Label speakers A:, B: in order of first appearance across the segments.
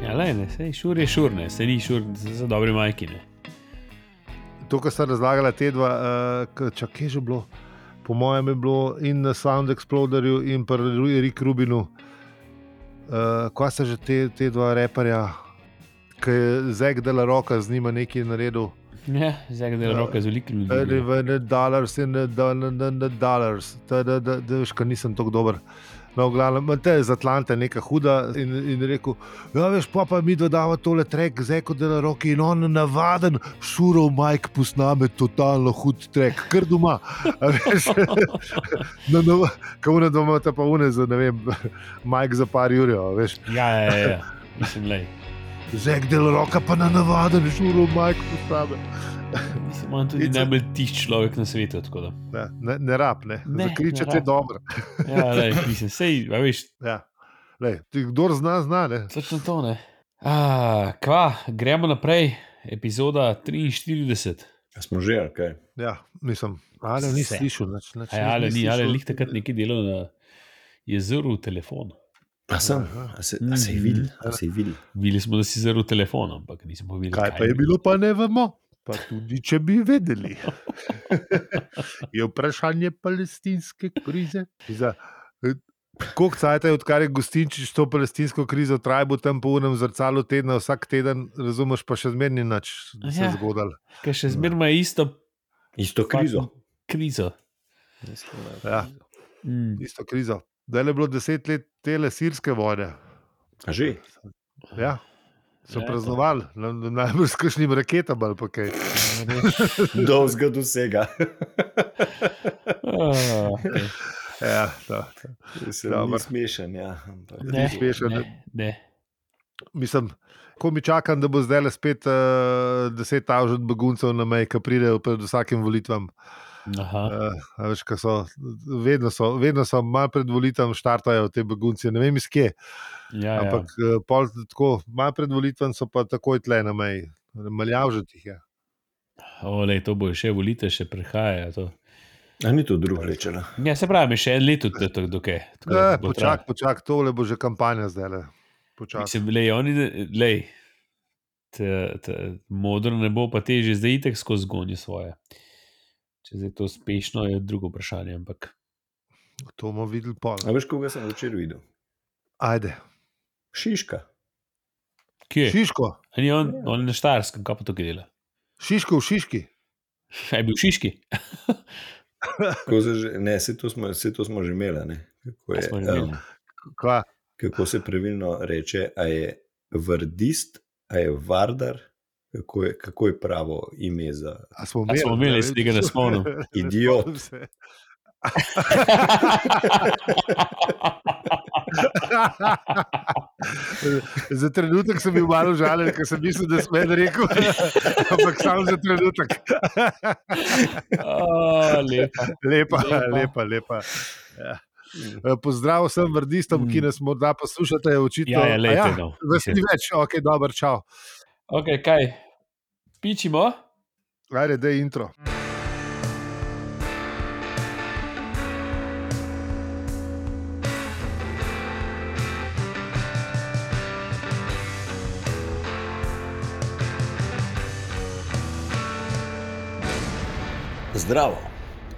A: lej, Ja, ne, sej šur je šur, ne, sej ni šur za, za dobre majkine.
B: To, kar sta razlagala te dva, uh, čak je že bilo, po mojem je bilo in na Sound Exploderju in pri Rick Rubinu, uh, kva sta že te, te dva reperja, ki je Zeg dela roka z njima nekaj naredil.
A: Ja, zdaj gre roka z velikimi ljudmi. ne.
B: Ne dollars, ne dollars, da veš, ker nisem tako dober. No, glavno, te je z Atlante neka huda in, in rekel, ja, veš, pa pa mi dodava tole trek, zdaj kot dela roki in on navaden, šurov majk posname totalno hud trek, kar doma. A veš, no, na novo, kako na doma ta pa une za, ne vem, majk za par jurjev, veš.
A: Ja, ja, ja, ja. mislim, lej.
B: Zdaj dela roka pa na navaden, šurov majk posname.
A: Mislim, on tudi
B: Ica.
A: najbolj tih človek na svetu, tako da.
B: Ne, ne, ne rab, ne,
A: Ne,
B: ne
A: ne
B: zakričati je
A: rab.
B: dobro.
A: Ja, lej, mislim, sej, a veš,
B: Ja. Lej, ti, kdor zna, zna. Ne?
A: Točno to ne. Ah, kva, gremo naprej, epizoda 43.
C: A Smo že, ali kaj.
B: Ja, nisem. Ali ni
A: Vse.
B: slišal, nič, nič,
A: Aj,
B: nič
A: ja, ali ni, ali je
B: slišal.
A: lih takrat neki delo na jezeru telefon.
C: A sem, a se, a se je videl, a se je videl.
A: Bili smo, da si zrl telefon, ampak nismo videli,
B: Kaj pa je bilo, pa ne vemo. Pa tudi, če bi vedeli. je vprašanje palestinske krize. Za, Koliko cajt je, odkar je Gostinčič to palestinsko krizo trajal tam po unem zrcalu tedna, vsak teden, razumeš, pa še zmerni nič se
A: Ja.
B: je zgodilo.
A: Ker še zmerno je isto
C: Isto krizo.
A: fucking krizo.
B: Ja,
A: Mm.
B: isto krizo. Da je bilo deset let tele sirske vojne.
C: A že?
B: Ja, so
A: Ja, to-
B: praznovali, na- na- najbrž s kakšnim raketam ali pa kaj.
C: Dolzga do vsega.
A: Ah, okej.
B: Ja, to.
C: Sem
B: Dobro.
C: smešen, ja. ampak-
A: Ne,
B: smešen,
A: ne,
B: ne.
A: ne.
B: Mislim, ko mi čakam, da bo zdaj le spet uh, deset avžud beguncev na meji, ki pridejo pred vsakim volitvam.
A: Aha.
B: Uh, veš, kaj so, vedno so, vedno so malo pred volitvami štartajo te begunci, ne vem iz kje.
A: Ja, ja.
B: Ampak ja. pol, tako, malo pred volitvami so pa takoj tle na meji, maljavžutih je.
A: Olej, to bojo še volite, še prihajajo. to.
C: A ni to drugo rečeno.
A: Ja, se pravi, še en leto, da je to dokaj. tako da
B: Ja,
A: bo trajalo.
B: počak, počak, tole bo že kampanja zdaj. Počak.
A: Mislim, lej, oni, ne- lej, te, te, modro ne bo, pa te že zdaj itek skozi gonje svoje. Če zdaj to uspešno, je drugo vprašanje. Ampak
B: To bomo videli pol.
C: A veš, koga sem včeraj videl?
B: Ajde.
C: Šiška.
A: kje je?
B: Šiško,
A: A Ni on, on je na Štajerskem, kaj pa to dela?
B: Šiško v Šiški.
A: A Je bil v Šiški.
C: Kako se že- Ne, se to smo, saj to smo že imeli. a ne? Kako,
A: To
C: je,
A: smo že imeli.
C: em,
B: Kva?
C: kako se pravilno reče, a je vrdist, a je vardar. Kako je, kako je pravo ime za
B: A smo
A: A
B: imeli,
A: smo imeli, jaz tega ne spomnim.
B: spomnim
C: Idiot.
B: se. za trenutek sem bil malo žalen, ker sem mislil, da sem en rekel, ampak samo za trenutek.
A: A, lepa.
B: Lepa,
A: Lepa.
B: lepa, lepa. Ja. Eh, Pozdrav vsem vrdistom, ki nas morda poslušate, očitno.
A: Mm. Ja, ja,
B: A
A: lejte, no.
B: Vas ni več, ok, dober, čau.
A: Ok, kaj? Pičimo?
B: Ajde, da je intro.
C: Zdravo.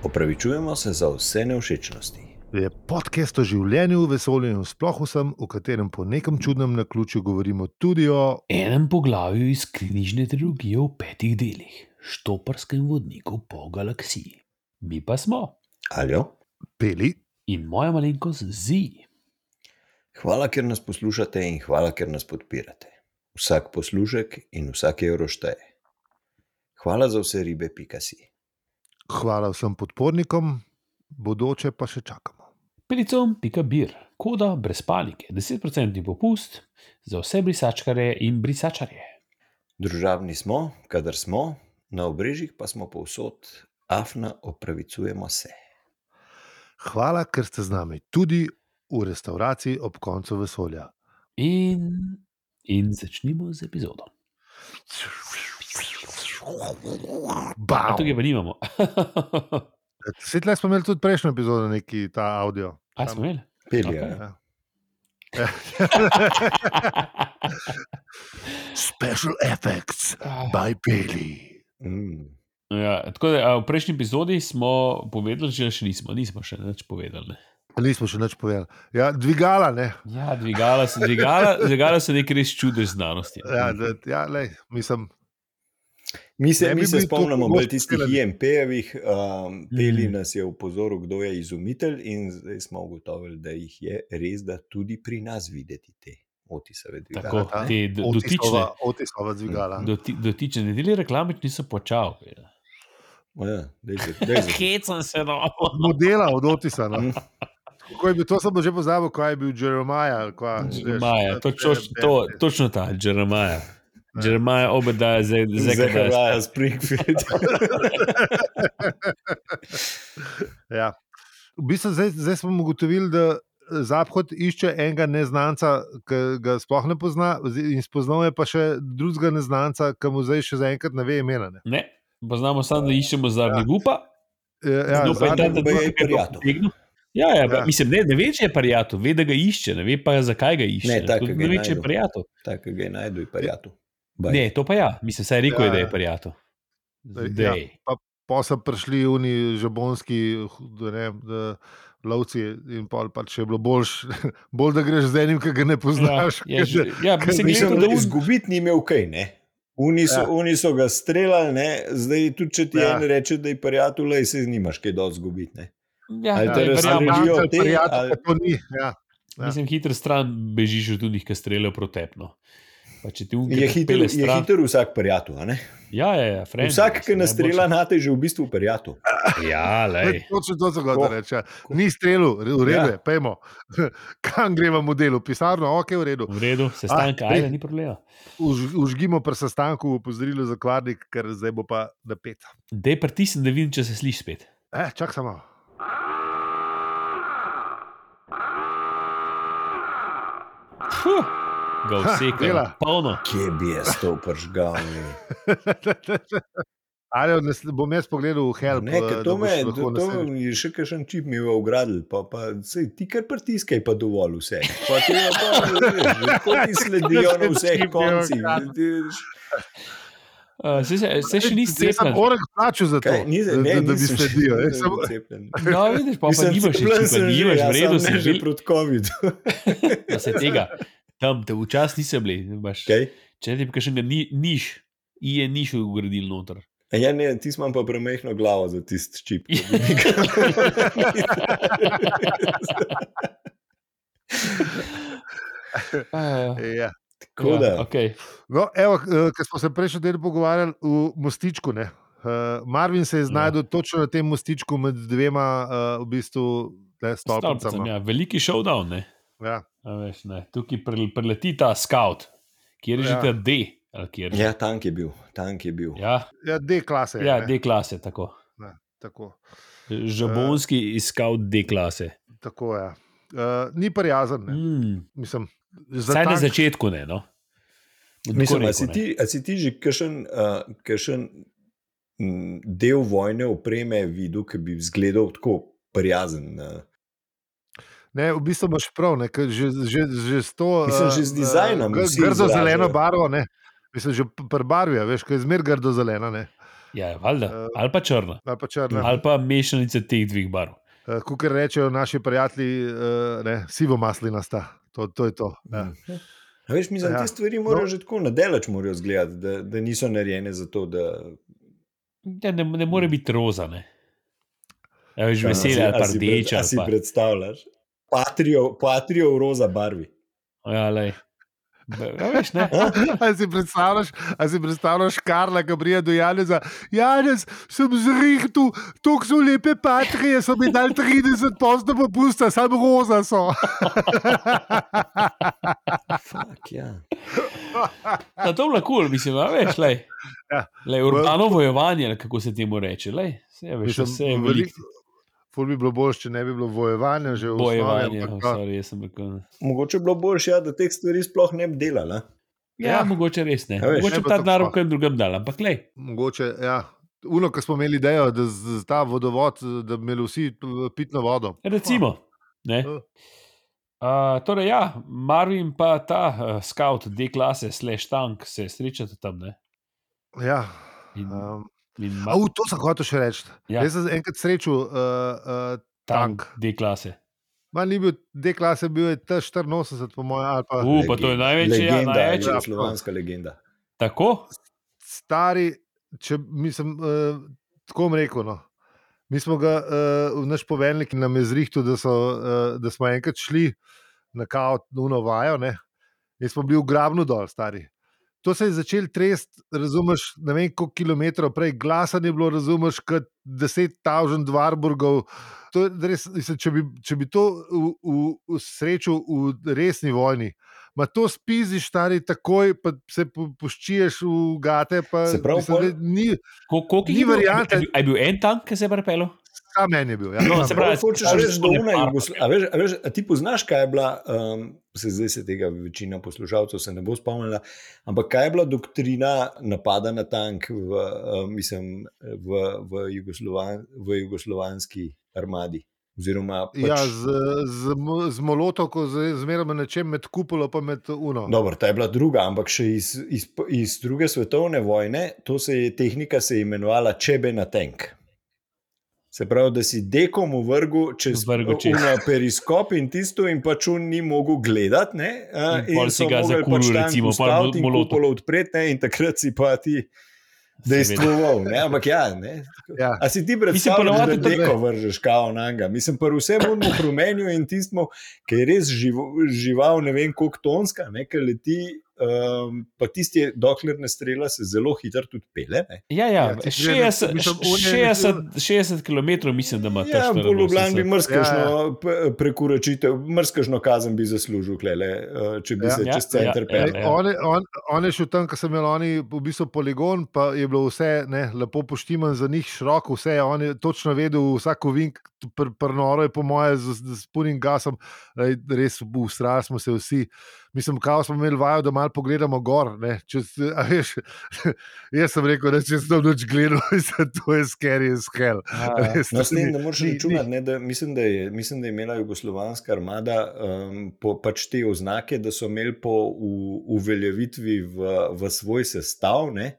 C: Opravičujemo se za vse neušečnosti.
B: Je podcast o življenju, vesolju in sploh vsem, v katerem po nekem čudnem naključju govorimo tudi o
A: Enem poglavju iz knjižne trilogije v petih delih, Štoparskem vodniku po galaksiji. Mi pa smo
C: Aljo?
B: peli.
A: in moja malenkost zi.
C: Hvala, ker nas poslušate in hvala, ker nas podpirate. Vsak poslušek in vsak evro šteje. Hvala za vse ribe, pika si.
B: Hvala vsem podpornikom, bodoče pa še čakamo.
A: Pelicom.bir, koda brez panike, 10% popust za vse brisačkare in brisačarje.
C: Družavni smo, kadar smo, na obrežjih pa smo povsod, afna opravičujemo se.
B: Hvala, ker ste z nami tudi v restauraciji ob koncu vesolja.
A: In, in začnimo z epizodo. A tukaj
B: Bam!
A: pa nimamo.
B: Svetlej smo imeli tudi prejšnjo epizodo, neki ta audio.
A: A smo imeli?
C: Pelje.
A: Okej.
C: Okay.
B: Ja. Special effects
A: Ah.
B: by Billy.
C: Mm.
A: Ja, tako da, a v prejšnji epizodi smo povedali, že še nismo, nismo še nič povedali. Ne.
B: Nismo še nič povedali. Ja, dvigala, ne.
A: Ja, dvigala so, dvigala, dvigala so nek res čudež znanosti.
B: Ja, da, ja, lej, mislim,
C: Mi se,
B: Ne bi
C: mi se
B: bili
C: spomnimo
B: tako
C: bolj tistih
B: poškodovani.
C: IMP-jevih, um, Peli
B: Mm.
A: Mhm.
C: nas je opozoril, kdo je izumitelj, in zdaj smo ugotovili, da jih je res, da tudi pri nas videti te otisave
A: Tako,
C: dvigala.
B: Ja,
A: te do- dotične,
B: otisnova, otisnova dvigala.
A: doti, dotične nedelje reklame niso počali. Ja.
C: Ja, daj se, daj se.
A: Hecam se no. na
B: Od modela, od otisa. No.
C: Mm.
B: Ko je bil to, sem že pozabil, ko je bil Jeremiah. ali kva, veš,
A: Jeremaja,
B: to-
A: točno, to, točno ta, Jeremaja. Jeremaja obedaja zdaj, zdaj, zdaj, zdaj.
C: Zahraja Springfield.
B: Ja. V bistvu zdaj, zdaj smo ugotovili, da Zahod išče enega neznanca, ki ga sploh ne pozna, ozi- in spoznal je pa še drugega neznanca, ki mu zdaj še zaenkrat ne ve imena. Ne.
A: Ne, poznamo samo, da iščemo zadnji gupa.
B: E, Ja,
C: Kdo pa je
B: zadnji-
C: ta- baje prijatelj.
A: Ja, ja, ja.
B: Ja.
A: Mislim, ne, ne ve, če je prijatelj, ve, da ga išče, ne ve pa, zakaj ga išče.
C: Ne,
A: Tako
C: takega
A: da ne ve, če je
C: najdel.
A: prijatelj.
C: Tako ga je najdu in prijatu.
A: Ne, to pa ja, mislim, saj rekel ja. je,
B: Ja,
A: da
B: ja.
A: je prijatelj.
B: Zdaj, ja.
A: Zdaj. Ja.
B: Pa so prišli oni žabonski, da ne vem, da lovci in pol pač je bilo boljš, bolj, da greš z enim, ki ga ne poznaš.
A: ja,
B: kot da-
A: že, ja,
B: ker
A: mislim,
B: nisem
A: gledam, da
C: Mislim, da
A: un,
C: izgubiti ni imel kaj. Ne? Oni so,
B: Ja.
C: ja. oni so ga streljali, ne? zdaj tudi če ti
B: Ja.
C: ja. en reče, da je prijatelj, lej, se nimaš kaj dosti izgubiti. ne.
A: ja,
C: ali
A: ja,
C: te
A: ja,
B: ali
C: razstrelijo?
A: verjamem.
B: prijatelj,
C: te,
B: prijatelj,
C: ali-
B: pa to ni. Ja. Ja.
A: Mislim, hitro stran bežiš od tujih, ki streljajo protepno. Pa če ti
C: Je
A: umre,
C: hiter, je hiter vsak prijatelj. a ne?
A: Ja, ja, ja, friend,
C: Vsak,
A: mislim,
C: ki nastrela,
A: najboljše.
C: na te je že v bistvu prijatelj.
A: Ja, lej.
B: Točno to so ga
C: Ko-
B: reči. ja. Ni strelu, v redu je,
C: Ja.
B: pojmo. Kam gremo v modelu, pisarno, ok, v
C: Mm.
B: redu.
A: V redu, sestanka,
B: Ah,
A: ajde,
B: ne.
A: ni problema.
B: Už, užgimo pri sestanku, opozorilo za kvarnik, ker zdaj bo pa napet.
A: Dej pritisni, da vidim, če se sliši spet.
B: Eh, čak samo.
A: Huh, ga
B: Ha,
A: vse
B: dela.
A: dela. Polno.
C: Kje bi jaz to pržgal? ne?
B: Ali bom jaz pogledal v help?
C: Ne, ker
B: eh,
C: to
B: da boš
C: me,
B: lahko
C: to, to
B: naslednjič.
C: je še kakšen čip mi je ugradil, pa, pa sej, ti kar pritiskaj, pa dovolj vse. Pa ti je pa, kot ti sledijo na vseh
B: Čip mi je
C: koncih.
B: ukradel.
C: Ti-
A: Uh, se, se, se še nisi
B: Jaz sem
A: cepil.
B: orek plačal za to,
C: Kaj, ni,
B: da,
C: ne,
B: da, da bi
C: nisem še-
B: sledil.
C: ne,
B: eh, samo-
C: cepljen.
A: No, vidiš, pa, pa
C: Mislim,
A: nimaš še
C: cepljen
A: čipa,
C: sem že,
A: nimaš
C: ja,
A: v redu,
C: samo
A: si
C: ne že
A: bil,
C: proti COVID-u.
A: da se tega. Tam te včasih nisem bil. imaš-
C: Kaj?
A: Če ti bi kakšen ni, niš, I je niš ugradil noter.
C: A Ja, ne, ti imam pa premehno glavo za tisti čip.
A: Ja,
C: ki bi mi ga-
A: Uh,
B: Ja.
C: Tako da,
A: Okay.
B: No, evo, ker smo se prejšnji teden pogovarjali v mostičku. Ne? Uh, Marvin se je znašel ja. točno na tem mostičku med dvema uh, v bistvu, ne,
A: Stolpicam,
B: stolpicama.
A: ja. Veliki showdown, ne.
B: Ja.
A: A Veš, ne. Tukaj prel- preleti ta scout, kjer je že
B: Ja.
A: ta D. ali Kjer...
C: ja, tank je bil, tank je bil.
A: Ja,
B: Ja, D klase.
A: ja
B: ne,
A: D klase, tako.
B: Tako, Ja.
A: Žabonski iskal D klase.
B: tako ja. Uh, ni prijazen. ne,
A: Mm,
B: Mislim, za
A: Saj na
B: tank-
A: začetku ne. No? Bom tako
C: Mislim, a,
A: rekel,
C: si
A: ne.
C: ti, a si ti že kakšen, uh, kakšen m, del vojne opreme videl, ki bi izgledal tako prijazen? Uh,
B: Ne, v bistvu imaš prav, ne, ker že, že, že s to.
C: Mislim,
B: eh,
C: že z dizajnom
B: eh, gr-
C: vsi
B: Grdo zeleno
C: izražajo.
B: barvo, ne. Mislim, že prbarvijo, veš, kaj je zmer grdo zelena, ne.
A: Ja, valjda.
B: Eh, Ja.
A: Ali pa črna.
B: Ali pa črna.
A: Ali pa mešanica teh dveh barv.
B: Kot rečejo naši prijatelji, eh, ne, sivo maslinasta. To, to je to. Ja.
C: A veš, mislim,
B: Ja.
C: ja. te stvari morajo
B: No.
C: no. že tako na delač morajo izgledati, da, da niso narejene za to, da
A: Ja, ne, ne more biti roza. Ne. Ja, veš,
C: A si-
A: veselje ali
C: a
A: pa
C: si pred-
A: rdeča.
C: a Si
A: ali pa-
C: predstavljaš? Patrijo, patrijo v roza barvi.
A: Ja, lej. Be- ja, veš, ne.
B: A si predstavljaš, a si predstavljaš Karla, ki prija do Janeza? Janez, sem zrihtu, tako so lepe patrije, so mi dal 30 posto popusta, samo roza so. Ah.
C: Fak, ja.
A: Na to lahko, cool, mislim, a veš, lej.
B: Ja.
A: Lej, urbano vojevanje, ali kako se temu reče. Lej. Vse, veš,
B: Mislim,
A: vse je
B: veliko-
A: veliko.
B: Ful bi bilo bolj, če ne bi bilo vojevanja, že v osnovi,
A: Bojevanje,
B: ampak, ja.
A: sorry, jaz sem rekel.
C: Mogoče bi bilo boljše, ja, da teh stvari sploh ne bi delala.
A: Ja,
B: Ja.
A: ja, mogoče res ne.
C: Ja, veš,
A: mogoče
B: ne
A: bi
B: pa
A: ta
B: to
A: denar
B: sploh.
A: v kaj drugem dal, ampak le.
B: Mogoče, ja. Uno, ki smo imeli idejo, da z, z ta vodovod, da bi imeli vsi eh, pitno vodo.
A: Recimo. Ne?
B: Ja.
A: Uh, torej, ja, Marvin pa ta uh, scout D klase, slash tank, se srečata tam. Ne?
B: Ja.
A: In,
B: Um,
A: in
B: a, v, to sem hotel še reči.
A: Ja.
B: Ja. Jaz sem enkrat srečal uh, uh, tank.
A: D klase.
B: Ma ni bil D klase, bil je T84, po mojem, ali pa
A: U, pa to je največje, ja,
C: legenda,
A: največje.
B: Ja.
C: slovanska legenda.
A: Tako?
B: stari, če mislim, uh, tako bom rekel. No. Mi smo ga, uh, naš poveljnik nam je zrihtel, da, so, uh, da smo enkrat šli na kao, nuno vajo, ne, in smo bili v grabnu dol, stari. To se je začel trest, razumeš, ne vem koliko kilometrov prej, glasen je bilo, razumeš, kot deset tavžen Dvarburgov. To je Res, mislim, če, bi, če bi to v, v, v srečo v resni vojni, Ma to spiziš, stari, takoj, pa se po- poščiješ v gate. Pa,
C: Se pravi,
B: mislim,
C: pol-
B: da ni,
A: Ko, koliko
B: Ni
A: jih je bilo?
B: variante.
A: A je bil- a je bil en tank, ki se je prepeljal?
B: sam meni je bil. Ja,
A: No,
B: samo
A: se
B: meni.
A: pravi,
C: Prav, hočeš
A: kažeš, da
C: reči, da
A: ne
C: ona
A: para.
C: Jugoslavija. A, veš, a, veš, a ti poznaš, kaj je bila, um, se zdaj se tega večina poslušalcev se ne bo spomnila, ampak kaj je bila doktrina napada na tank v, uh, mislim, v, v, Jugoslovan, v jugoslovanski armadi? Oziroma, pač,
B: ja, z, z, mo- z molotovko, z- zmeraj nečem med kupolo in med uno.
A: No.
C: Dobro, ta je bila druga, ampak še iz, iz, iz druge svetovne vojne, to se je tehnika se je imenovala čebe na tank. Se pravi, da si dekom uvrgu čez
A: Vrgel čez.
C: uno periskop in tisto, in pač on ni mogel gledati. Ne, a,
A: In pol si
C: so
A: ga
C: mogli pač
A: zakuril,
C: tank
A: recimo, pol
C: ustaviti in
A: molotov.
C: kupolo odpreti, ne, in takrat si pa ti dejstvoval. ne, Ampak ja, ne.
B: Ja.
C: A si ti
A: Mislim,
C: predstavljaš, da
A: ponovadi to-
C: neko vržeš kao na njega? Mislim, pa vse bomo promenili in tistmo, ki je res živo, žival, ne vem koliko tonska, ne, ki leti, um, pa tisti, dokler ne strela, se zelo hitro tudi pele. Ne.
A: Ja, ja,
B: Ja, ti gre na-
A: 60,
B: mislim, on je
A: 60, 60 km, mislim, da ima ta
C: Ja, po Ljubljani bi
A: 84.
C: mrzkašno
B: Ja,
C: ja, ja. prekoračitev, mrzkašno kazen bi zaslužil, klele, eh, če bi
B: Ja.
C: ja, se
A: Ja,
C: čez center
A: ja,
C: ja,
A: ja,
C: pel.
B: Ej, On, je- on, on je šel tam, ko sem imel oni, v bistvu poligon, pa je bilo vse ne, lepo poštiman za njih, široko, vse je on je točno vedel, vsak vink, pr, prnoro je po moje z, z, z punim gasom, Ej, res v strah smo se vsi. Mislim, kao smo imeli vajo, da malo pogledamo gor. Ne, čez, a veš, jaz sem rekel, da če sem tam noč gledal, mislim, to je scary as hell.
A: Ja,
B: Res,
C: No, s tem,
B: ni-
C: da moraš
B: ni- ni-
C: računati, ne, da, mislim, da je, mislim, da je imela jugoslovanska armada um, po, pač te oznake, da so imeli po u- uveljavitvi v, v svoj sestav. Ne,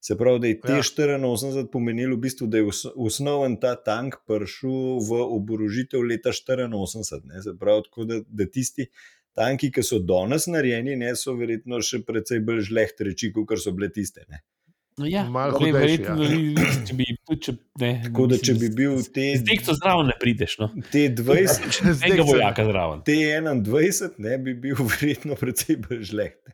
C: se pravi, da je
B: Ja.
C: T-84 pomenilo v bistvu, da je os, osnoven ta tank prišel v oborožitev leta 84. Ne, se pravi, tako da, da tisti. Tanki, ki so danes narejeni, ne, so verjetno še precej bolj žleht reči, kot so bile tiste. Ne.
A: ja,
B: Malo
A: ne,
B: hudejši,
A: verjetno
B: ja.
A: ni- če bi tudi če- ne,
C: Tako da, če
A: mislim,
C: bi bil
A: z-
C: te,
A: Z dekto zraven ne prideš, no.
C: te 20,
B: Zdaj,
A: Enega
B: ko sem-
A: vojaka zraven.
C: T21 ne bi bil verjetno precej bolj žleht.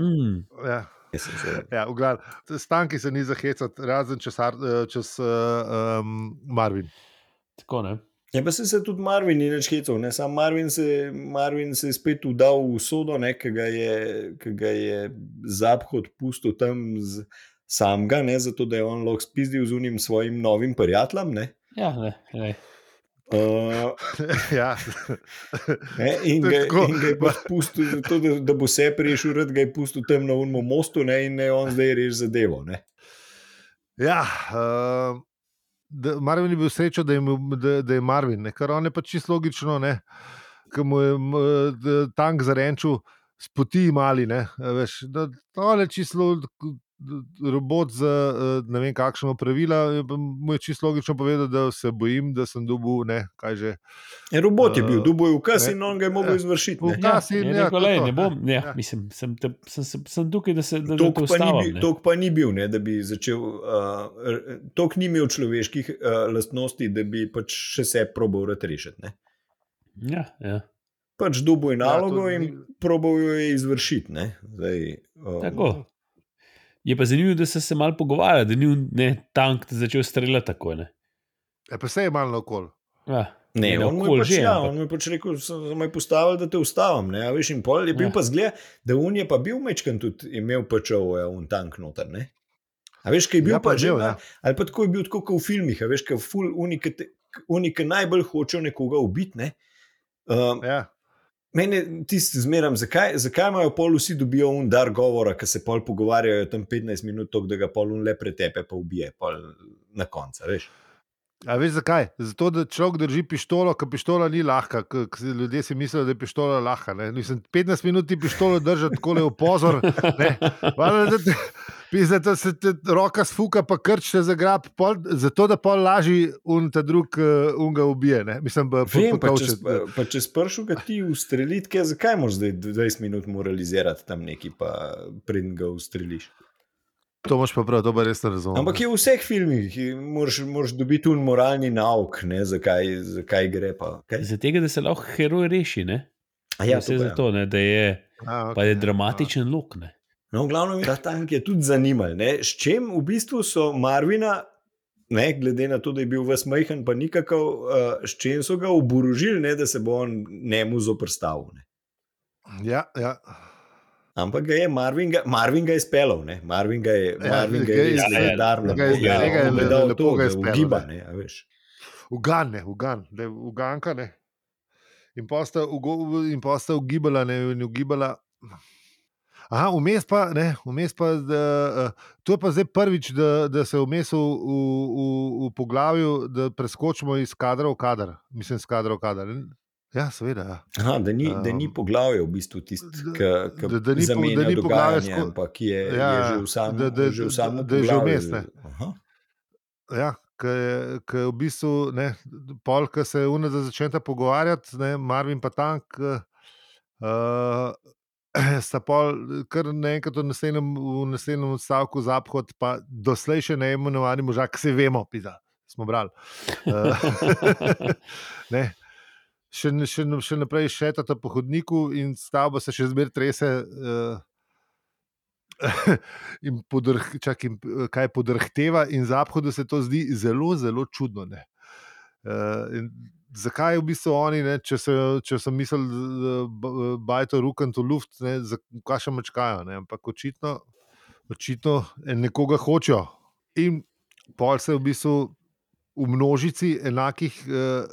A: Mm.
B: Ja.
C: Jaz sem se-
B: Ja, v glav- Stanki se ni zahecati, razen čez, Ar- eh, čez eh, um, Marvin.
A: Tako ne.
C: Ja, pa se, se tudi Marvin ni več hecel, ne samo Marvin se, Marvin se je spet udal v sodo, ne, ki ga je, ki ga je zaphod pustil tam z, sam ga, ne, zato da je on lahko spizdil z unim svojim novim prijateljem. Ne,
A: Ja, ne, ne.
C: uh,
B: ja.
C: ne, in,
B: To je
C: ga,
B: tako.
C: in ga je pač pustil, zato, da, da bo se prešel, rad ga je pustil tam na unmo mostu ne, in ne on zdaj reži zadevo. Ne.
B: ja um, da, Marvin je bil srečen, da, je imel- da, da je Marvin, ne, ker on je pač čisto logično, ne, ki mu je m, d- tank zarenčil, spoti mali. Ne, a veš, da, on je čisto lo- d- robot za eh, ne vem kakšno pravila. je pa Mu je čisto logično povedal, da se bojim, da sem dobil, ne, kaj že.
C: En robot je bil, Eh,
B: Eh,
C: dubo je ukaz
B: ne.
C: in on ga je mogel
B: Ja.
C: izvršiti. Ne.
A: Ja,
B: Včasih,
A: je
B: ja,
A: rekel,
B: to je
A: "Lej,
B: to,
A: ne
B: ja,
A: bom, ne,
B: ja.
A: mislim, sem, te, sem, sem, sem tukaj, da se da, da te
C: Tok pa, ni
A: ustavim.
C: bil,
A: ne."
C: tok pa ni bil, ne, da bi začel, uh, tok ni imel človeških uh, lastnosti, da bi pač še se probal rad rešiti. Ne.
A: Ja, ja.
C: Pač dubo je nalogo
B: to
C: ja, in
B: ni-
C: probal jo je izvršiti. ne. Zdaj, um,
A: Tako. Je pa zanimivo, da so se malo pogovarjali, da ni un- ne, tank začel streljati tako. Ne,
B: E, pa se je malo okol.
A: ja,
C: Ne,
A: je
C: on mu
A: naokoli
C: je pač, ja,
A: ampak-
C: on mu je pač rekel, da me je postavil, da te ustavim. Ne, a veš, in pol je bil
A: Ja.
C: ja. pa zgled, da on je pa bil mečken tudi imel pač ovo, ja, un tank noter. Ne. A veš, kaj je
B: Ja,
C: bil ja, pa
B: je
C: že,
B: bil,
C: ja. ali pa tako je bil tako kot v filmih, a veš, kaj ful unike. Oni, ki najbolj hočejo nekoga ubiti, ne? um,
B: Ja.
C: Mene tisti zmeram, zakaj, zakaj imajo pol vsi dobijo un dar govora, ki se pol pogovarjajo tam 15 minut, tako da ga pol un le pretepe, pa ubije pol na koncu. a Veš?
B: A veš zakaj? Zato, da človek drži pištolo, ker pištola ni lahka. K, k, ljudje si mislijo, da je pištola lahka. Ne? Mislim, 15 minut ti pištolo drži, tako le opozor. Pisa, da se ti roka sfuka, pa krče za grab, pol, zato da pol lažji un ta drug uh, un ga ubije. Ne? Mislim, pa, eh,
C: Vem, pa, če, pa, pa če spršu, kaj ti ustreliš, zakaj moraš zdaj 20 minut moralizirati tam neki, pa preden ga ustreliš?
B: To moš pa prav, to pa res ne razumem.
C: Ampak je v vseh filmih, moraš, moraš dobiti un moralni nauk, ne, zakaj, zakaj gre. Pa, kaj?
A: Ja, Zaradi tega, da se lahko heroj reši. Ne?
C: A ja,
A: Vse
C: to pa ja.
A: zato, ne, da je,
B: A,
A: pa je dramatičen lok. Ne?
C: No, glavno mi ta tank je tudi zanimal. Ne? S čim v bistvu so Marvina, ne, glede na to, da je bil ves majhen, pa nikakav, uh, s čim so ga oborožili, ne, da se bo on njemu zoprstavil. Ne.
B: Ja, ja.
C: Ampak ga je Marvin, ga, Marvin ga je spelal, ne? Marvin ga je,
B: Ja,
C: ja, Marvin ga
B: ga
C: je
B: je
C: res
A: iz-
C: legendarno
B: ga je iz-
C: povedal.
B: ga je
C: On mu
B: le-
C: dal
B: lepo
C: to,
B: ga je
C: da
B: spelal,
C: ugiba,
B: da.
C: ne, a veš.
B: Ugan, ne, ugan, da je uganka. Ne. In posta, ugo, in posta ugibala, ne, in ugibala. Aha, vmes pa, ne, vmes pa da, eh, to je pa zdaj prvič, da, da se vmes v, v, v, v poglavju, da preskočimo iz kadra v kader. Mislim, iz kadra v kader. Ja, seveda. Ja.
C: Aha, da, ni, da ni
B: Um,
C: poglavje v bistvu tisti,
B: da-
C: ki
B: da- da ni po-
C: zamenja
B: da ni poglavje
C: dogajanje,
B: sko-
C: ampak je,
B: Ja,
C: je že v samem,
B: da- da-
C: že v
B: da-
C: samem
B: da je že
C: poglavju.
B: vmes, ne.
C: Aha.
B: Ja, ki je, ke je v bistvu ne, pol, ki se une za začneta pogovarjati, ne, Marvin pa tank. Uh, Sta pol, kar naenkrat v naslednjem, v naslednjem odstavku zaphod, pa doslej še ne imenovani možak, ki se vemo, pisa, smo brali. Uh, ne. Še, n- še, n- še naprej šetata po hodniku in stavba se še zmeraj trese. Uh, in podrh, čak, in, eh, kaj podrhteva, in zahodu se to zdi zelo, zelo čudno. ne. Eh, in Zakaj v bistvu oni, ne, če, se, če so mislili, da bajto rukan to luft, ne, zakaj še mačkajo, ne, ampak očitno, očitno eh, nekoga hočejo. In pol se v bistvu v množici enakih eh,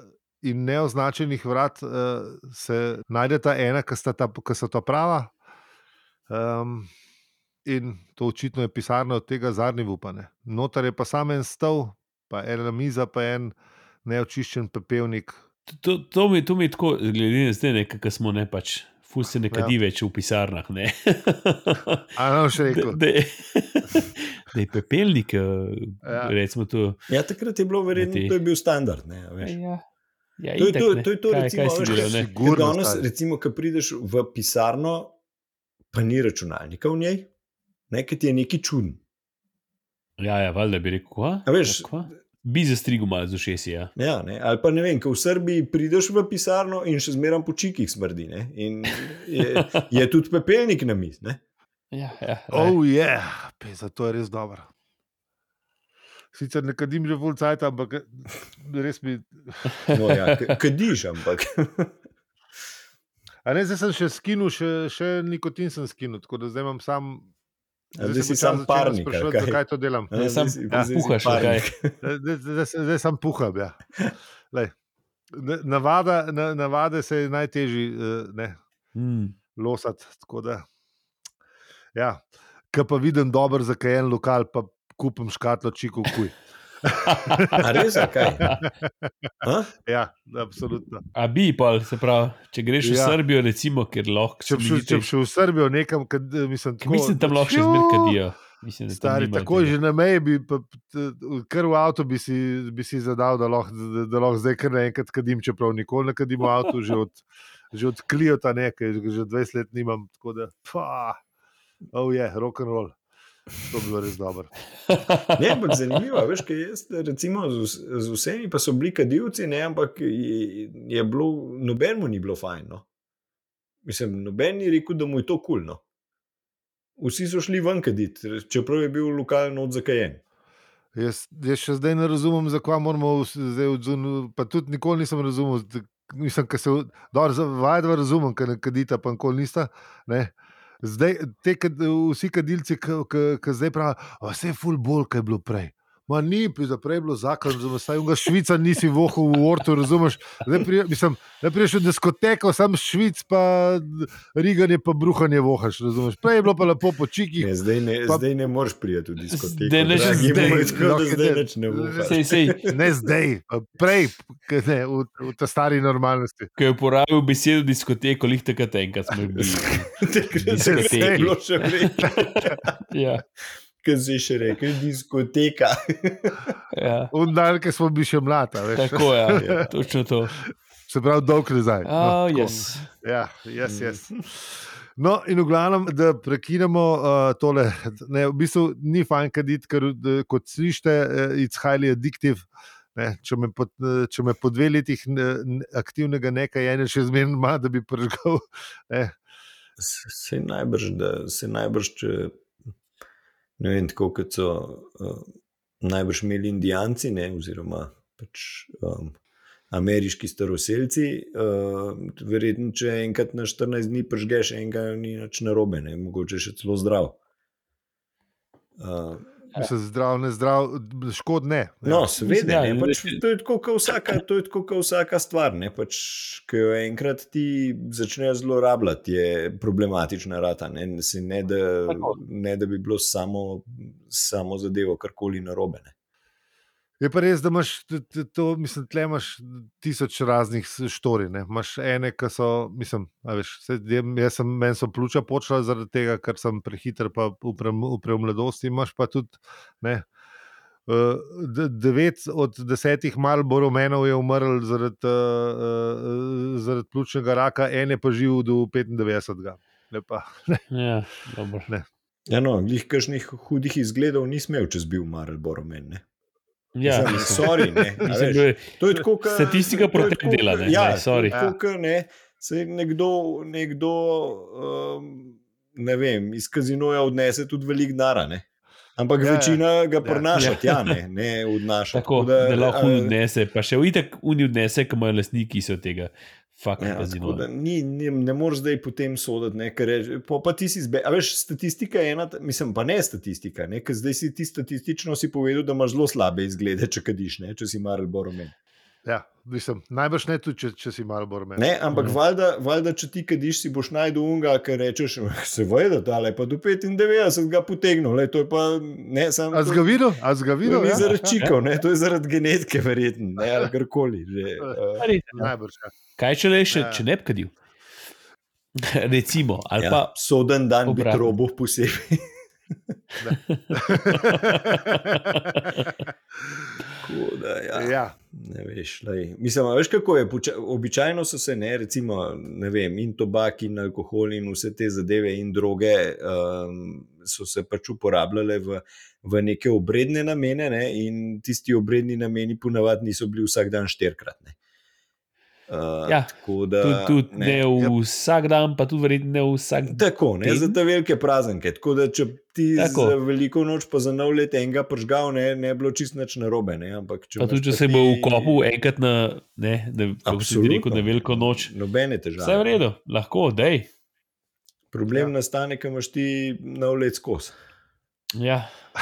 B: in neoznačenih vrat eh, se najdeta ena, ki sta ta, ki so ta prava. Um, in to očitno je pisarna od tega Zarnivupa. Ne. Notar je pa sam en stol, pa ena miza, pa en neočiščen pepelnik.
A: To- To, to, mi, to mi je tako, glede na zdaj, kako smo ne pač. Fus se ne
B: Ja.
A: kadi več v pisarnah. Ne?
B: A ne boš
A: da,
B: rekel.
A: da, je- da je pepelnik, ja.
B: Ja.
A: recimo, to.
C: Ja, takrat je bilo verjetno,
A: Ti-
C: to je bil standard. Ne, a veš.
A: Ja, ja,
C: To je
A: itak,
C: to-
A: ne.
C: to je to,
A: Kaj-
C: recimo,
A: kaj si
C: veš,
A: delal, ne?
B: kaj-
C: Ker
B: Sigurno,
C: danes,
B: stari.
C: recimo, ko prideš v pisarno, pa ni računalnika v njej, nekaj ti je neki čuden.
A: Ja, ja, valjda bi rekel, kva?
C: A veš-
A: Ja, kva? Bi zastrigel malo z ušesi, ja.
C: Ja, ne? Ali pa ne vem, ko v Srbiji prideš v pisarno in še zmeraj po čikih smrdi. Ne? In je, je tudi pepelnik na mizi. ne.
A: Ja, ja, oh.
B: Oh, je, yeah. zato je res dober. Sicer ne kadim že full cajt, ampak eh, res mi.
C: No, ja, k- kadiš, ampak.
B: A ne, zdaj sem še skinul, še, še nikotin sem skinul, tako da zdaj imam sam.
C: A
B: se
C: zdaj si
B: počasi
C: sam
B: začenjam
C: parnik, ali
B: spraševati,
C: kaj?
B: Zakaj to delam?
C: Ja,
A: Ne, Ja, sam puhaš, kaj?
B: Zdaj- zdaj- Zdaj se- zdaj sem puham. Ja. Glej, na- Navada, na, navade se je najtežje eh, ne,
A: mm.
B: losati. tako da, Ja. Ker pa vidim dober zakajen lokal, pa kupim škatlo čikov kuj.
C: A res, a kaj? A?
B: Ja, absolutno.
A: A bi pa, se pravi, če greš v ja.
B: Ja.
A: Srbijo, recimo, ker lahko
B: Če bi šel- če bi šel v Srbijo, nekam, kad, eh, mislim, tako,
A: Mislim, tam lahko še zmeraj kadijo. Mislim, da tam
B: Stari,
A: nimajo
B: takoj
A: tega.
B: že na meji, bi, pa, t- kar v avtu bi si, bi si zadal, da lahko, da, da lahko zdaj kar naenkrat kadim, čeprav nikoli ne kadim v avtu, že od, že od Kliota nekaj, že 20 let nimam. Tako da, pa, oh je, yeah, rock and roll. To bi bilo res dobro.
C: Ne, ampak zanimivo, veš, kaj jaz, recimo, z, vs- z vsemi pa so bili kadilci, ne, ampak je, je bilo, nobenemu ni bilo fajn. No. Mislim, noben ni rekel, da mu je to kulno. Vsi so šli ven kaditi, čeprav je bil lokalen od zakajen.
B: Jaz, jaz še zdaj ne razumem, zakaj moramo vs- zdaj odzuniti. Pa tudi nikoli nisem razumel. z- Mislim, da se vajda razumem, ker ne kadita, pa nikoli nista. Ne. Zdaj, te, kad, vsi kadilci, ki zdaj pravijo, vse je full bolj, kaj je bilo prej. Ma ni, prej je bilo zakon, zdaj ga švica nisi vohal v ortu, razumeš? Zdaj pri- mislim, zdaj priješ v diskoteko, sam švic, pa riganje, pa bruhanje vohaš, razumeš? Prej je bilo pa lepo po čikih.
C: Ne, zdaj, ne,
B: Pa-
C: pa, zdaj ne moreš priti v diskoteko.
A: Zdaj ne-
C: dragi
A: zdaj-
C: moj, tako da
B: lahko
C: zdaj
B: ne.
C: nič ne upaš.
A: Sej, sej,
B: Ne zdaj, pa prej, ke ne, v, v ta stari normalnosti.
A: ko je uporabil besedo diskoteko, lih takrat enkrat smo bili.
C: Takrat
A: Zdaj-
C: se je
A: zdaj-
C: bilo še prej,
A: Ja,
C: ker si še rekel, diskoteka.
A: ja.
B: Vdal, ki smo bili še mlada, veš.
A: Tako je, ja. točno to.
B: se pravi, dolg nazaj.
A: Oh,
B: No, tako.
A: yes.
B: Ja, jaz,
C: Mm.
B: jaz. No, in v glavnem, da prekinemo uh, tole. Ne, v bistvu ni fajn kaditi, ker eh, kot slišite, eh, it's highly addictive. Ne, če, me po, eh, če me po dveh letih ne, ne, aktivnega nekajenja še zmerno ima, da bi prežgal,
C: Se najbrž, da se najbrž, če, ne vem, tako kot so uh, najbrž imeli Indijanci, ne, oziroma pač, um, ameriški staroseljci. Uh, verjetno, če enkrat na 14 dni pržgeš, enega ni nič narobe, ne, mogoče še celo zdrav. Uh,
B: mislim, zdrav, ne zdrav, škod ne.
C: No,
A: Mislim, ja,
C: seveda, ne,
A: in
C: pač,
A: reci-
C: to je tako kot vsaka, to je tako kot vsaka stvar. Ne, pač, ki jo enkrat ti začnejo zlorabljati, je problematična rata. Ne, ne, saj ne, da,
A: Tako.
C: ne da bi bilo samo, samo zadevo karkoli narobe. Ne.
B: Je pa res, da imaš t- t- to, mislim, tle imaš tisoč raznih s- štorij. ne. Imaš ene, ki so, mislim, a veš, saj jem- jaz sem, meni so pljuča počela zaradi tega, ker sem prehiter, pa v prem- v preumladosti. Imaš pa tudi, ne, eh, de- devet od desetih Marlboro menov je umrl zaradi, eh, eh, zaradi pljučnega raka, ene pa živ do 95. Ne pa,
A: Ja, dobro.
C: Ja, no, jih kakšnih hudih izgledov nisem imel, če bi bil Marlboro meni.
A: Ja, mislim,
C: sorry, ne, a
A: mislim,
C: veš.
A: da je-
C: To je tako, kot
A: Statistika
C: to je
A: proti
C: tako,
A: dela, ne,
C: Ja,
A: ne, sorry.
C: to je Tako, kot ne, se nekdo, nekdo um, ne vem, iz kazinoja odnese tudi velik denar. ne. Ampak
B: Ja,
C: ja,
B: ja.
C: večina ga
B: Ja.
C: prenaša, ja. ne, ne odnaša.
A: Tako da lahko
C: ja,
A: odnese, pa še itek unijo odnese, ki imajo lastniki so tega. Fakt,
C: Ja, tako da
A: ja,
C: ni, ni, ne moreš zdaj potem soditi, ne, ker reče, pa, pa ti si zbe. A veš, statistika je ena, ta- mislim, pa ne statistika, ne, ker zdaj si ti statistično si povedal, da imaš zelo slabe izglede, če kadiš, ne, če si Marlboro men.
B: ja, mislim, najbrž ne tudi, če, če si Marlboro men.
C: Ne, ampak
A: Mhm.
C: valjda, valjda, če ti kadiš, si boš najdel unga, ki rečeš, seveda, ta je pa do 95 ga potegnil, le to je pa ne samo.
B: A si ga videl? A si ga
C: To
B: videl?
C: ni
B: Ja?
C: zaradi
B: Aha.
C: čikov, ne, to je zaradi genetike, verjetno, ne, ali karkoli. Že, eh,
B: Najbrž. ja.
A: Kaj če le še,
B: Ja.
A: če ne bi kadil? Recimo, ali
C: ja,
A: ja. pa
C: soden dan bi
A: obratno.
C: trobo posebej. Tako da, ja.
B: ja.
C: Ne veš, lej. mislim, a veš kako je. Poča- Običajno so se ne, recimo, ne vem, in tobak, in alkohol, in vse te zadeve, in droge, um, so se pač uporabljale v, v neke obredne namene, ne, in tisti obredni nameni ponavadi niso bili vsak dan štirikratni. Uh,
A: Ja,
C: tako da. Ja.
A: tudi, tudi ne, ne vsak dan, pa tudi verjetno ne vsak dan.
C: Tako, ne,
A: teden.
C: za te velike praznike. Tako da, če ti
A: Tako.
C: tako. za veliko noč pa za nov let enega pržgal, ne, ne bi bilo čist nič narobe. Ne, ampak, če
A: Pa
C: imaš
A: tudi, če
C: pa
A: se bo
C: ti-
A: ukopal enkrat na, ne, na, kako si ti
C: Absolutno.
A: rekel, na veliko noč.
C: Nobene težave.
A: Vse je v redu, lahko, dej.
C: Problem
B: Ja.
C: ja. nastane, ko imaš ti na ulici skozi.
A: Ja,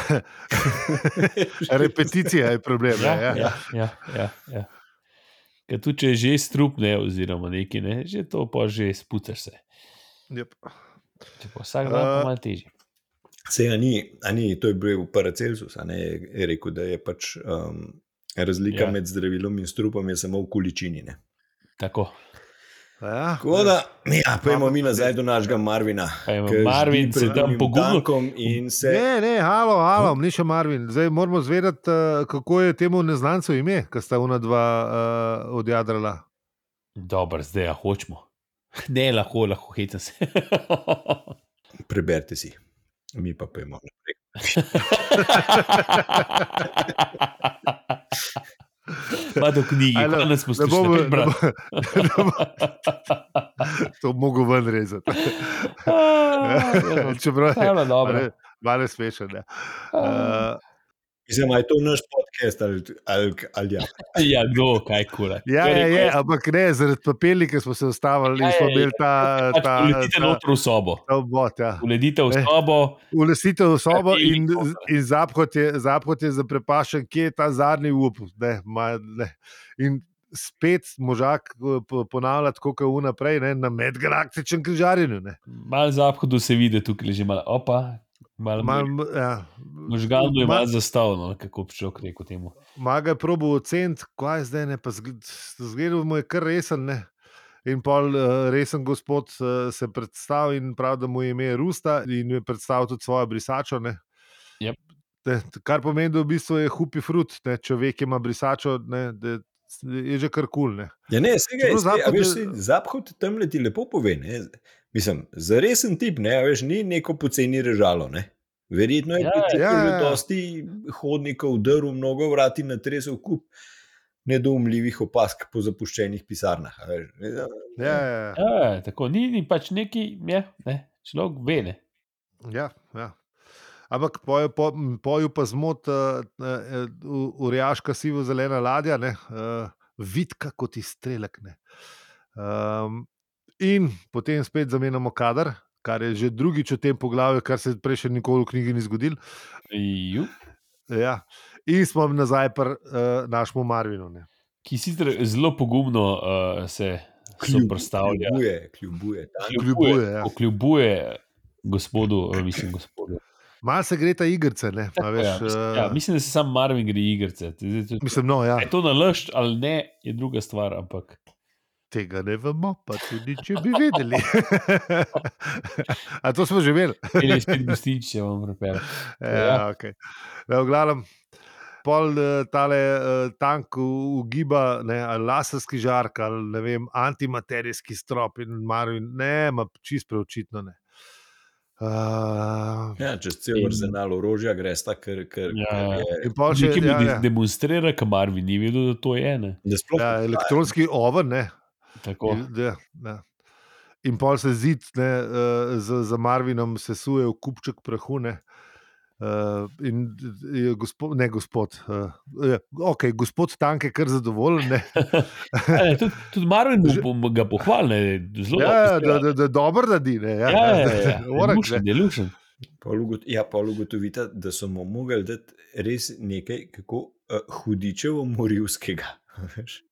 B: Repeticija je problem.
A: ja,
B: Ja, ja.
A: ja, ja, ja, ja. Ker tudi, če je že strup, ne, oziroma neki, ne, že to pa že spucaš se.
B: Jep.
A: Če pa vsak dan, pa
B: Eh,
A: malo težje.
C: Se je ni, a ni, to je bil Paracelsus, a ne je je rekel, da je pač um, razlika
A: Ja.
C: ja. med zdravilom in strupom je samo v količini. Ne?
A: Tako.
B: Ja,
C: Tako da, ja, pojmo
B: Ampak-
C: mi nazaj do našega Marvina.
A: Pa ima
C: ki ždi
A: Marvin,
C: pred
A: se tam
C: onim
A: pogumno.
C: tankom in se.
B: Ne, ne, halo, halo, ni še Marvin. Zdaj moramo zvedeti, eh, kako je temu neznancu ime, ki sta ona dva uh, odjadrala.
A: Dobro, zdaj ja, hočemo. Ne, lahko, lahko hitam se.
C: Preberite si, mi pa pojmo.
A: Pa do knjige,
B: Ajde,
A: ali nas
B: Ne bom,
A: poslušate,
B: ne
A: brat.
B: bom, to mogo ven rezati.
A: Ah, ja,
B: Čeprav je
A: Dobro, Ja. dobro.
B: malo- malo smešen. ja. Eh,
C: Mislim, ali je to naš podcast ali, ali, ali ja.
A: Ja, kdo, Torej, kaj Ja, kula.
B: Ja, ja, ja, ampak ne, zaradi papirja smo se ustavili in smo imeli ta, ta,
A: pač Uletite
B: ta,
A: noter v sobo.
B: ta obvod. Ja.
A: Uletite v
B: Eh.
A: sobo.
B: Ulesite v sobo
A: Papirni
B: in,
A: kofer.
B: in zapot je, zapot je zaprepašen, kje je ta zadnji up. Ne, ma, ne. In spet možak eh, po- ponavlja, tako kot unaprej, ne, na medgalaktičnem križarjenju. ne.
A: Mal zahodu se vidi tukaj že malo opa. Mal,
B: Ma-
A: mal,
B: m- ja.
A: možgano je
B: Ma-
A: malo zastavljeno, kako bi človek rekel temu.
B: Maga je probo oceniti, kaj je zdaj, ne pa zgled- zgledal mu je kar resen. Ne. In pol eh, resen gospod eh, se predstavlja in pravi, da mu je ime Rusta in je predstavil tudi svojo brisačo. Ne.
A: Jep.
B: Ne, t- Kar pomeni, da v bistvu je hupi frut, ne, če ve, ki ima brisačo, ne, da s- je že kar kul. Cool,
C: Ja, ne, sega,
B: Čeprav
C: je, Zapad,
B: Zahod
C: veš,
B: je-
C: saj Zahod tam leti lepo pove. Ne? Mislim, za resen tip, ne, a veš, ni neko poceni režalo. Ne? Verjetno je
A: Ja,
C: tudi
B: ja,
C: ja, že
B: ja.
C: dosti hodnikov, drv, mnogo vrati na tresu, kup nedoumljivih opask po zapuščenih pisarnah. a Veš, Ne, da-
B: ja, ja, ja.
A: Ja, tako ni, ni pač neki, je, ne, človek ve. Ne.
B: ja, ja. Ampak poju po, m, pol jo pa zmot, uh, uh, urijaška sivo-zelena ladja, ne, uh, vidka kot izstrelek. ne. Um, in potem spet zamenjamo kader, kar je že drugič v tem poglavju, kar se prej še nikoli v knjigi ni zgodil.
A: Ju,
B: Ja. In smo nazaj pri uh, našemu Marvinu. Ne.
A: ki sicer zelo pogumno uh, se
C: kljub-
A: predstavlja.
C: Kljubuje, kljubuje. ta-
B: Kljubuje, ja.
A: Okljubuje gospodu, eh, mislim, gospodu.
B: Malo se gre ta igrice, ne a
A: Tako,
B: veš.
A: ja, mislim, ja,
B: eh,
A: mislim, da se sam Marvin gre igrice.
B: Mislim, no, ja,
A: Je to nalašč ali ne, je druga stvar, ampak
B: tega ne vemo, pa tudi če bi vedeli. A to smo že imeli.
A: tele spet gostič, če vam prepel.
B: Ja, okay. no, v glavnem, pol eh, tale eh, tank u- ugiba, ne, ali laserski žark, ali ne vem, antimaterijski strop in Marvin, ne, ma čist preočitno ne. E, Uh,
C: Ja, čez cel arzenal orožja greš tako, ker, ker,
A: Ja,
C: ker
A: ja.
C: je.
B: in pol še
A: Če mi
B: ja,
A: ja,
B: ja,
A: demonstrira, kam Marvin ni vedel, da to je ena.
C: Da sploh
B: ja, elektronski oven, ne.
A: Tako.
B: In, ja, ja. in pol se zid ne, eh, z, z Marvinom sesuje v kupček prahu. Ne. Uh, in je gospod, ne gospod, uh, okay, gospod Tank je kar zadovoljen, ne,
A: Ja, ne, tudi, tudi Marvin
B: Že-
A: bo, bo ga pohvalil, ne, zelo
B: ja,
A: dobro
B: da,
A: izgleda.
B: da, da dobro naredi. Ne, ja,
A: Ja, ja,
B: da-
A: ja,
B: da-
A: ja.
B: moram
A: Lušen,
B: reči.
A: je lušen.
C: Pol ugot- Ja, pa ugotovite, da so mu mogli dati res nekaj, kako uh, hudičevo morilskega. veš.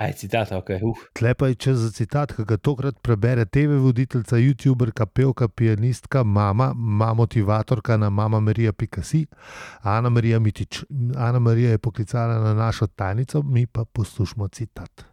A: Aj, citat, ok. Uh.
B: Tlepaj čas za citat, ki ga tokrat prebere TV voditeljica, YouTuberka, pevka, pianistka, mama, mama motivatorka na mama Marija Pikasi, Ana Marija Mitič. Ana Marija je poklicala na našo tajnico, mi pa poslušamo citat.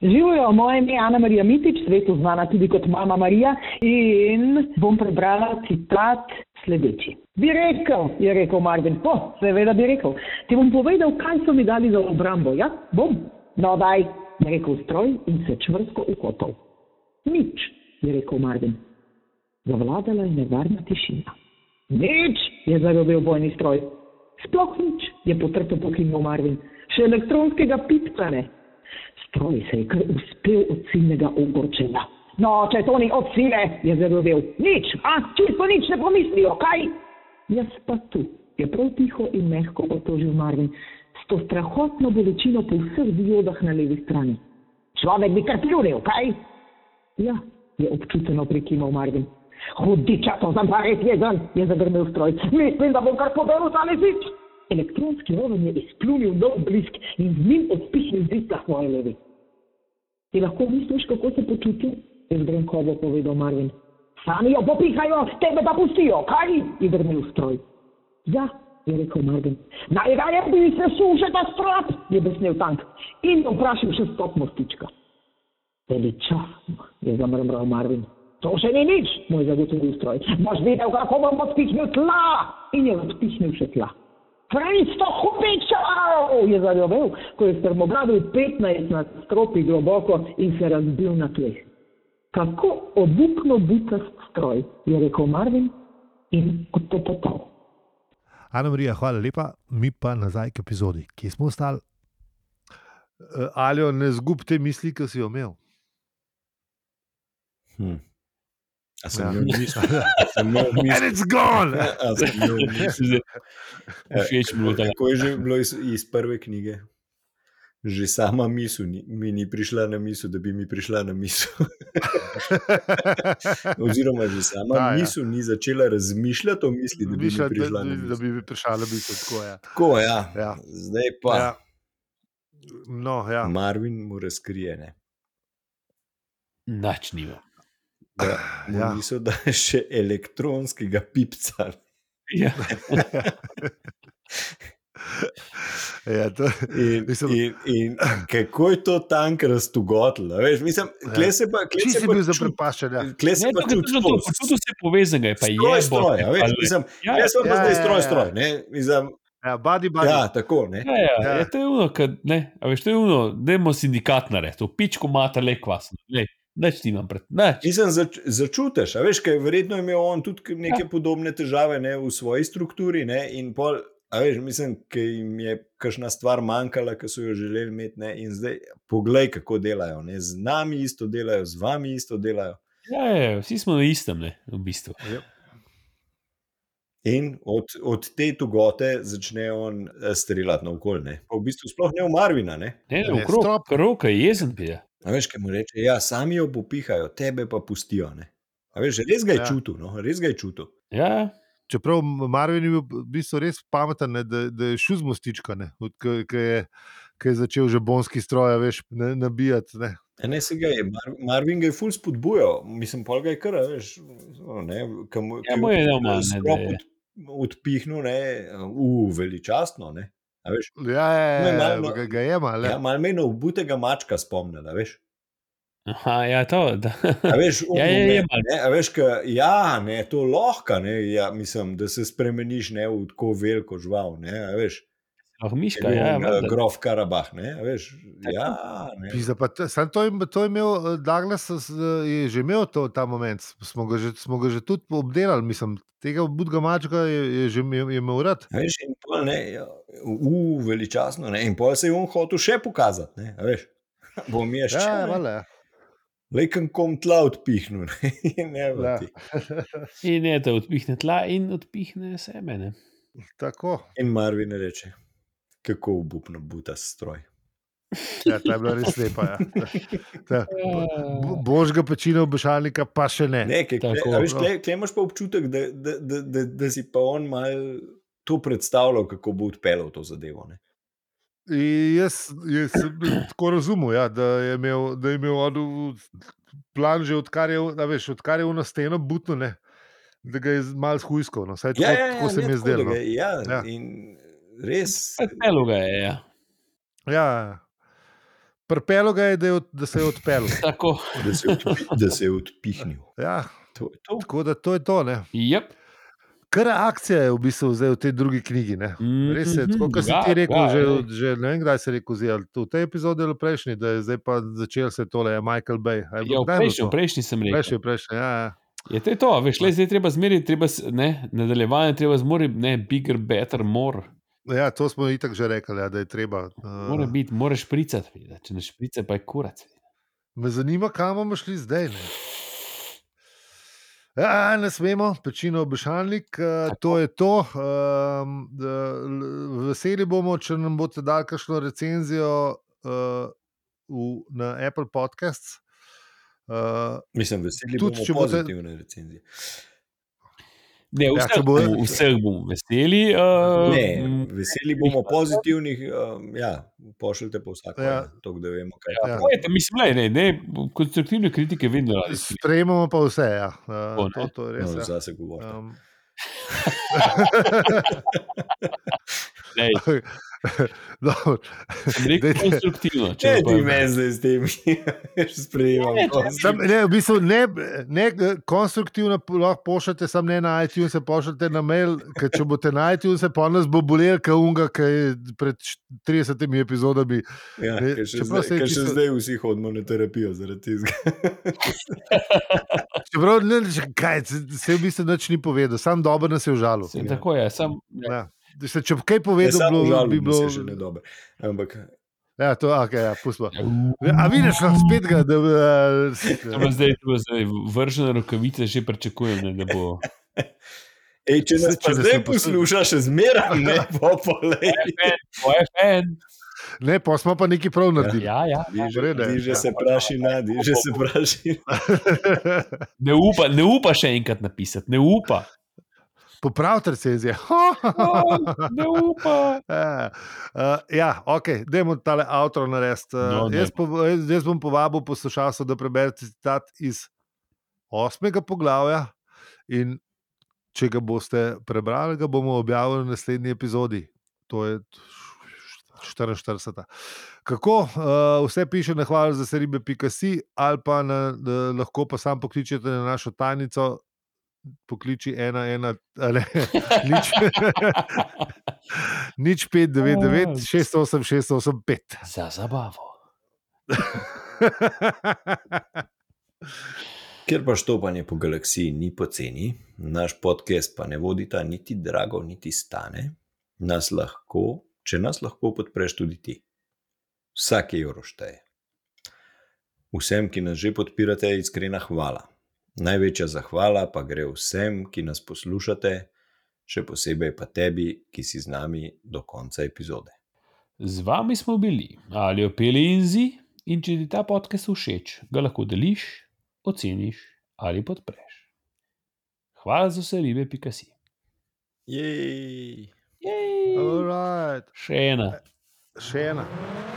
D: Živijo, moje ime je Ana Marija Mitič, svetu znana tudi kot Mama Marija in bom prebrala citat sledeči. Bi rekel, je rekel Marvin, po, seveda bi rekel. Ti bom povedal, kaj so mi dali za obrambo, ja? Bom. No, daj, je rekel stroj in se čvrsto ukotal. Nič, je rekel Marvin. Zavladala je nevarna tišina. Nič je zarobil bojni stroj. Sploh nič je potrto pokimil Marvin, še elektronskega pitka ne. Stroj se je kar uspel od ciljnega ogorčenja. No, če to ni od sile, je zarobil. Nič, a čisto nič ne pomislijo, kaj? Jaz pa tu, je prav tiho in mehko otožil Marvin, s to strahotno bolečino po vseh diodah na levi strani. Človek bi kar pljunil, kaj? Ja, je občuteno prikimal Marvin. Hudiča, to sem pa res jezen, je zagrmel stroj. Mislim, da bom kar poberu ta lezič. Elektronski oven je izpljunil nov blisk in z njim odpihnil zid na svoje levi. Ti lahko misliš, kako se počuti? Je zgrenkovo povedal Marvin. Sami jo popihajo, tebe pa pustijo, kaj? Je grmel stroj. Ja, je rekel Marvin. Najraje bi se sušil ta strop, je besnel tank in vprašal še stop mostička. Veličastno, je zamrmral Marvin. To še ni nič, mu je zagotovil stroj. Boš videl, kako bom odpihnil tla in je odpihnil še tla. Kristo hupičal, je zarjovel, ko je strmoglavil 15 na stropi globoko in se razbil na tleh. Kako obupno butast stroj, je rekel Marvin in otopotal.
B: Ana Marija, hvala lepa, mi pa nazaj k epizodi, kje smo ostali. Ali Eh, ne zgubi te misli, ki si jo imel?
C: Hm. A sem
B: Ja.
C: imel misli? A sem imel
B: And
C: misli?
B: it's gone!
C: A sem imel
B: Ja.
C: misli? Ja.
A: Všeč mi je bilo ta
C: Kako je že bilo iz, iz prve knjige? Že sama misel ni, mi ni prišla na misel, da bi mi prišla na misel. Oziroma, že sama
B: Da,
C: da,
B: ja.
C: misel ja. ni začela razmišljati o misli, da bi mi
B: Mišlja, da,
C: prišla na
B: da, da
C: misel.
B: bi mi prišla na misel. Tako, ja.
C: Tako, ja.
B: Ja.
C: Zdaj pa
B: Ja.
C: ja.
B: No, ja.
C: Marvin mu razkrije. Ne?
A: nač nima.
C: Da,
B: Ja.
C: ja. Niso da še elektronskega pipca.
A: Ja.
B: Ja, to,
C: In,
B: Mislim-
C: in, in kako je to tank raztugotilo. a Veš, mislim, kle se pa, kle
B: Ti
C: se
B: si
C: pa
B: Ja. bil
C: čuti-
B: zaprepaščen. Ja.
C: Kle se
A: Ne,
C: pa
A: to,
C: čuti
A: to, to,
C: to.
A: počutil se je povezanega, je pa je
C: Stroj, stroj, a veš, mislim,
A: Ja,
C: Jaz sem pa
B: Ja,
C: zdaj
B: ja,
C: stroj,
B: ja.
C: stroj. Ne? Mislim,
B: Ja, body, body.
C: ja, tako. Ne?
A: ja, ja,
B: Ja.
A: ja. ja, to je uno, kad, ne, a veš, to je uno, dajmo sindikat narediti, v pičku mata le kvasno, ne, nič nimam pred, nič.
C: Mislim, zač, začutiš, a veš, kaj verjetno je imel on tudi k- neke ja. podobne težave ne, v svoji strukturi. Ne, in pol, a veš, mislim, da jim je kakšna stvar manjkala, ki so jo želeli imeti. Ne, in zdaj poglej, kako delajo. Ne, z nami isto delajo, z vami isto delajo.
A: Ja, ja, vsi smo na istem, ne, v bistvu.
C: In od, od te tugote začne on eh, streljati naokoli. V bistvu sploh ne v Marvina. Ne.
A: Ne,
B: Ja, Ne,
A: ne, okrog,
B: stop.
A: roka je jezen pije.
C: A veš, kaj mu reče, ja, sami jo popihajo, tebe pa pustijo. Ne? A veš, res ga je
B: Ja.
C: ja. čutil, no? res ga je čutil.
A: Ja,
B: Čeprav Marvin je bil v bistvu res pameten, ne, da, da je šel z mostička, ki je, ko je začel že bonski stroj, a veš, ne, nabijati. Ne.
C: A Ne, se ga je, Mar Marvin ga je ful spodbujal, mislim, pol ga je kar, a veš, ono, ne, kam,
A: Ja, mu je dal malo, ne, da
C: skrop
A: je.
C: od, odpihnil, ne, u, veličastno, ne, a veš,
B: Ja, ja,
C: No,
B: ja, ja,
C: je malo-
B: ja, ga, ga je malo.
C: ja,
B: Ja.
C: malo me je na obutega mačka spomnil, a veš,
A: aha, ja, to, da.
C: a veš, on
A: Ja, je, je
C: moment,
A: malo.
C: ne, a veš, ka, ja, ne, to lahko, ne, ja, mislim, da se spremeniš, ne, v tako veliko žval, ne, a veš,
A: Oh,
C: je
A: miška,
C: bil
A: ja,
C: on, eh,
A: valjda.
C: grof Karabah, ne, a veš, ja, ne,
B: Pizda, pa to- Sam to, im- to je imel, eh, Douglas eh, je že imel to, ta moment, smo ga že, smo ga že tudi obdelali, mislim, tega budga mačka je, je že imel, je imel rad.
C: A Veš, in pol ne, ja, u, veličastno, ne, in pol se je on hotel še pokazati, ne, a veš. Bom jaz še,
B: Ja,
C: ja,
B: vale, ja.
C: leken kom tla odpihnil, ne, in ne,
B: Ja.
C: vrati.
A: In ne, da odpihne tla in odpihne seme. Ne.
B: Tako,
C: In Marvin reče, kako obupno buta stroj.
B: ja, ta je bila res lepa. Ja. Ta, ta,
A: Ja.
B: bož ga pečino obešalnika, pa še ne.
C: Ne, kaj, kle,
A: Tako,
C: a veš,
B: no.
C: kle, kle imaš pa občutek, da, da, da, da, da si pa on mal to predstavljal, kako bo odpeljal to zadevo, ne.
B: In Jaz, jaz sem bil tako razumel, ja, da je imel, da je imel on v- plan že odkar je, on- a veš, odkar je v nasteno butno, ne, da ga je malo hujsko. No. Saj Tako, ja, ja, tako se
C: ne,
B: mi je
C: tako, da
B: zdelo. no.
C: ga je- Ja,
B: Ja.
C: ja, in res,
A: Pelo ga je, ja.
B: Ja, ja. Prpelo ga je, da, je od, da se je odpeljal.
A: Tako,
C: da se je, odpi, da se je odpihnil.
B: Ja,
C: To, je to.
B: tako da to je to. Ne.
A: yep.
B: Kar akcija je v bistvu zdaj v tej drugi knjigi. Ne.
A: mm,
B: Res je, tako kot si ti rekel, ja, že, od- že ne vem, kdaj si rekel, zdaj, ali to v tej epizodi ali v prejšnji, da je zdaj pa začel se tole, je Michael Bay. A je
A: Ja,
B: bilo-
A: v
B: kdaj je bilo
A: prejšnji, v
B: to?
A: prejšnji sem rekel.
B: prejšnji, prejšnji, ja, ja.
A: Je to, je to veš, le zdaj je treba zmeriti, treba s- ne, nadaljevanje, treba zmoriti, ne, bigger, better, more.
B: Ja, to smo itak že rekli, ja, da je treba.
A: Mora
B: Uh,
A: biti, moraš špricati, veda. če ne šprica, pa je kurac.
B: me zanima, kam bomo šli zdaj. Ne, ja, ne smemo, pečino obešalnik, uh, to je to. Um, da, l- veseli bomo, če nam boste dali kakšno recenzijo uh, v, na Apple Podcasts. Uh,
C: Mislim, veseli
B: Tudi,
C: bomo
B: če boste-
C: pozitivne recenzije.
A: Ne,
B: Ja,
A: vseh,
B: če
A: ja,
B: bo-
A: bo, vseh bomo veseli.
B: Um,
A: Uh,
C: Ne, veseli bomo pozitivnih, um, ja, pošljite pa vsak,
B: Ja.
C: ja. to, da vemo, kaj
B: Ja.
C: je.
A: Pojete, mislim, le, ne, ne, konstruktivne kritike vedno radi.
B: sprejemamo pa vse, ja. uh,
A: Tako, ne?
B: to, ja. to je res.
C: No,
B: Ja.
C: zase govorite.
B: Um,
A: Lej,
B: Dobro.
A: sem rekel
B: Dajte.
A: konstruktivno.
C: Če
A: Če
C: ti
A: pa,
C: me zdaj s tem sprejemam,
B: Sam, ne, v bistvu ne, ne eh, konstruktivno po- lahko pošljete, samo ne na iTunes, pošljete na mail, ker če boste na iTunes, pa nas bo bolel, kaj unga, kaj je pred št- 30 epizodami.
C: ja,
B: Ne,
C: ker še,
B: čeprav
C: zdaj,
B: se je
C: ker še
B: čisto-
C: zdaj vsi hodimo na terapijo zaradi tega.
B: Čeprav ne, če- kaj, se- se v bistvu nič ni povedal, sam dobro nas je užalil.
A: sem, tako je, sam, ja,
B: Ja. Da Se, če bi kaj
C: Ja,
B: povedal, ja,
C: samo
B: bilo,
C: žal,
B: bi bilo.
C: še ne dobro. Ampak
B: Ja, to, okay, ja, pustimo.
A: Ja.
B: A vidiš, no, spet ga, da. eh, s-
A: To bo zdaj, to bo zdaj vržene rokavice, že pričakujem, ne, da bo.
C: Ej, če nas
B: Če
C: pa
B: nas
C: zdaj
B: ne posluša.
C: poslušaš, še zmeraj ne bo polej.
A: Moje fan.
B: Ne, pa smo pa nekaj prav naredili.
A: Ja, ja.
B: v redu je.
C: Diže se praši, na, diže se praši.
A: Ne upa, ne upa še enkrat napisati, ne upa. No,
B: Popravite se je.
A: Ne upa.
B: Eh, eh, ja, ok, dajmo tale avtor narediti.
A: No,
B: No, jaz,
A: dajmo.
B: po, jaz, jaz bom povabil poslušalce, da preberete citat iz osmega poglavja. In če ga boste prebrali, ga bomo objavili v naslednji epizodi. To je 44. Kako uh, vse piše na hvala za seribe.si, ali pa na, na, lahko pa sam pokličete na našo tajnico, pokliči ena, ena, a ne, nič. Nič 599, 608, 685.
A: Za zabavo.
C: Ker pa štopanje po galaksiji ni poceni, naš podcast pa ne vodita niti drago, niti stane, nas lahko, če nas lahko podpreš tudi ti. Vsak evro šteje. Vsem, ki nas že podpirate, je iskrena hvala. Največja zahvala pa gre vsem, ki nas poslušate, še posebej pa tebi, ki si z nami do konca epizode.
A: Z vami smo bili ali opeli in zi. In če ti ta podcast všeč, ga lahko deliš, oceniš ali podpreš. Hvala za vse ribe, pika si.
C: Jej!
A: Jej.
B: Alright.
A: Še ena.
B: Še ena.